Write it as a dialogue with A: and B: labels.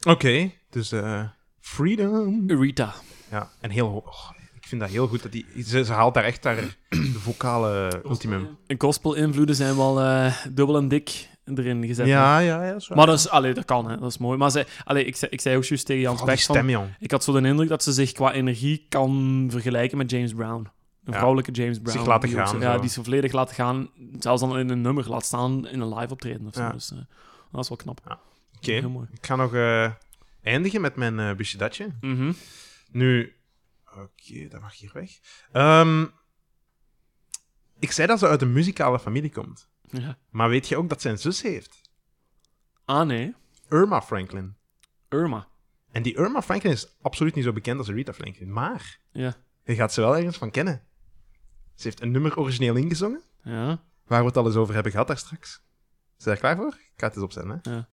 A: Oké, dus eh, Freedom.
B: Rita.
A: Ja, en heel ho- oh, ik vind dat heel goed. Dat die, ze, ze haalt daar echt haar de vocale ultimum.
B: En gospel-invloeden zijn wel eh, dubbel en dik erin gezet.
A: Ja, ja, ja. Zo.
B: Maar dat, is, allee, dat kan, hè. dat is mooi. Maar zij, allee, ik, zei, ik zei ook juist tegen Jan
A: Vooral Oh, die
B: Specht van...
A: stem, jong.
B: Ik had zo de indruk dat ze zich qua energie kan vergelijken met James Brown.
A: Ja.
B: Een vrouwelijke James Brown.
A: Zich laten
B: die ook
A: gaan,
B: zo- ja,
A: zo.
B: die ze volledig laat gaan. Zelfs dan in een nummer laat staan in een live optreden of zo.
A: Ja.
B: Dus, eh, dat is wel knap.
A: Oké,
B: Heel mooi.
A: ik ga nog eh, eindigen met mijn eh busjedatje.
B: Mhm.
A: Nu, oké, dat mag hier weg. Ehm, ik zei dat ze uit een muzikale familie komt.
B: ja.
A: Maar weet je ook dat ze een zus heeft?
B: Ah nee,
A: Irma Franklin.
B: Irma.
A: En die Irma Franklin is absoluut niet zo bekend als Rita Franklin. Maar
B: Ja.
A: je gaat ze wel ergens van kennen. Ze heeft een nummer origineel ingezongen.
B: Ja.
A: waar we het al eens over hebben gehad daar straks. Zijn je daar klaar voor? Ik ga het eens opzetten, hè.
B: Ja.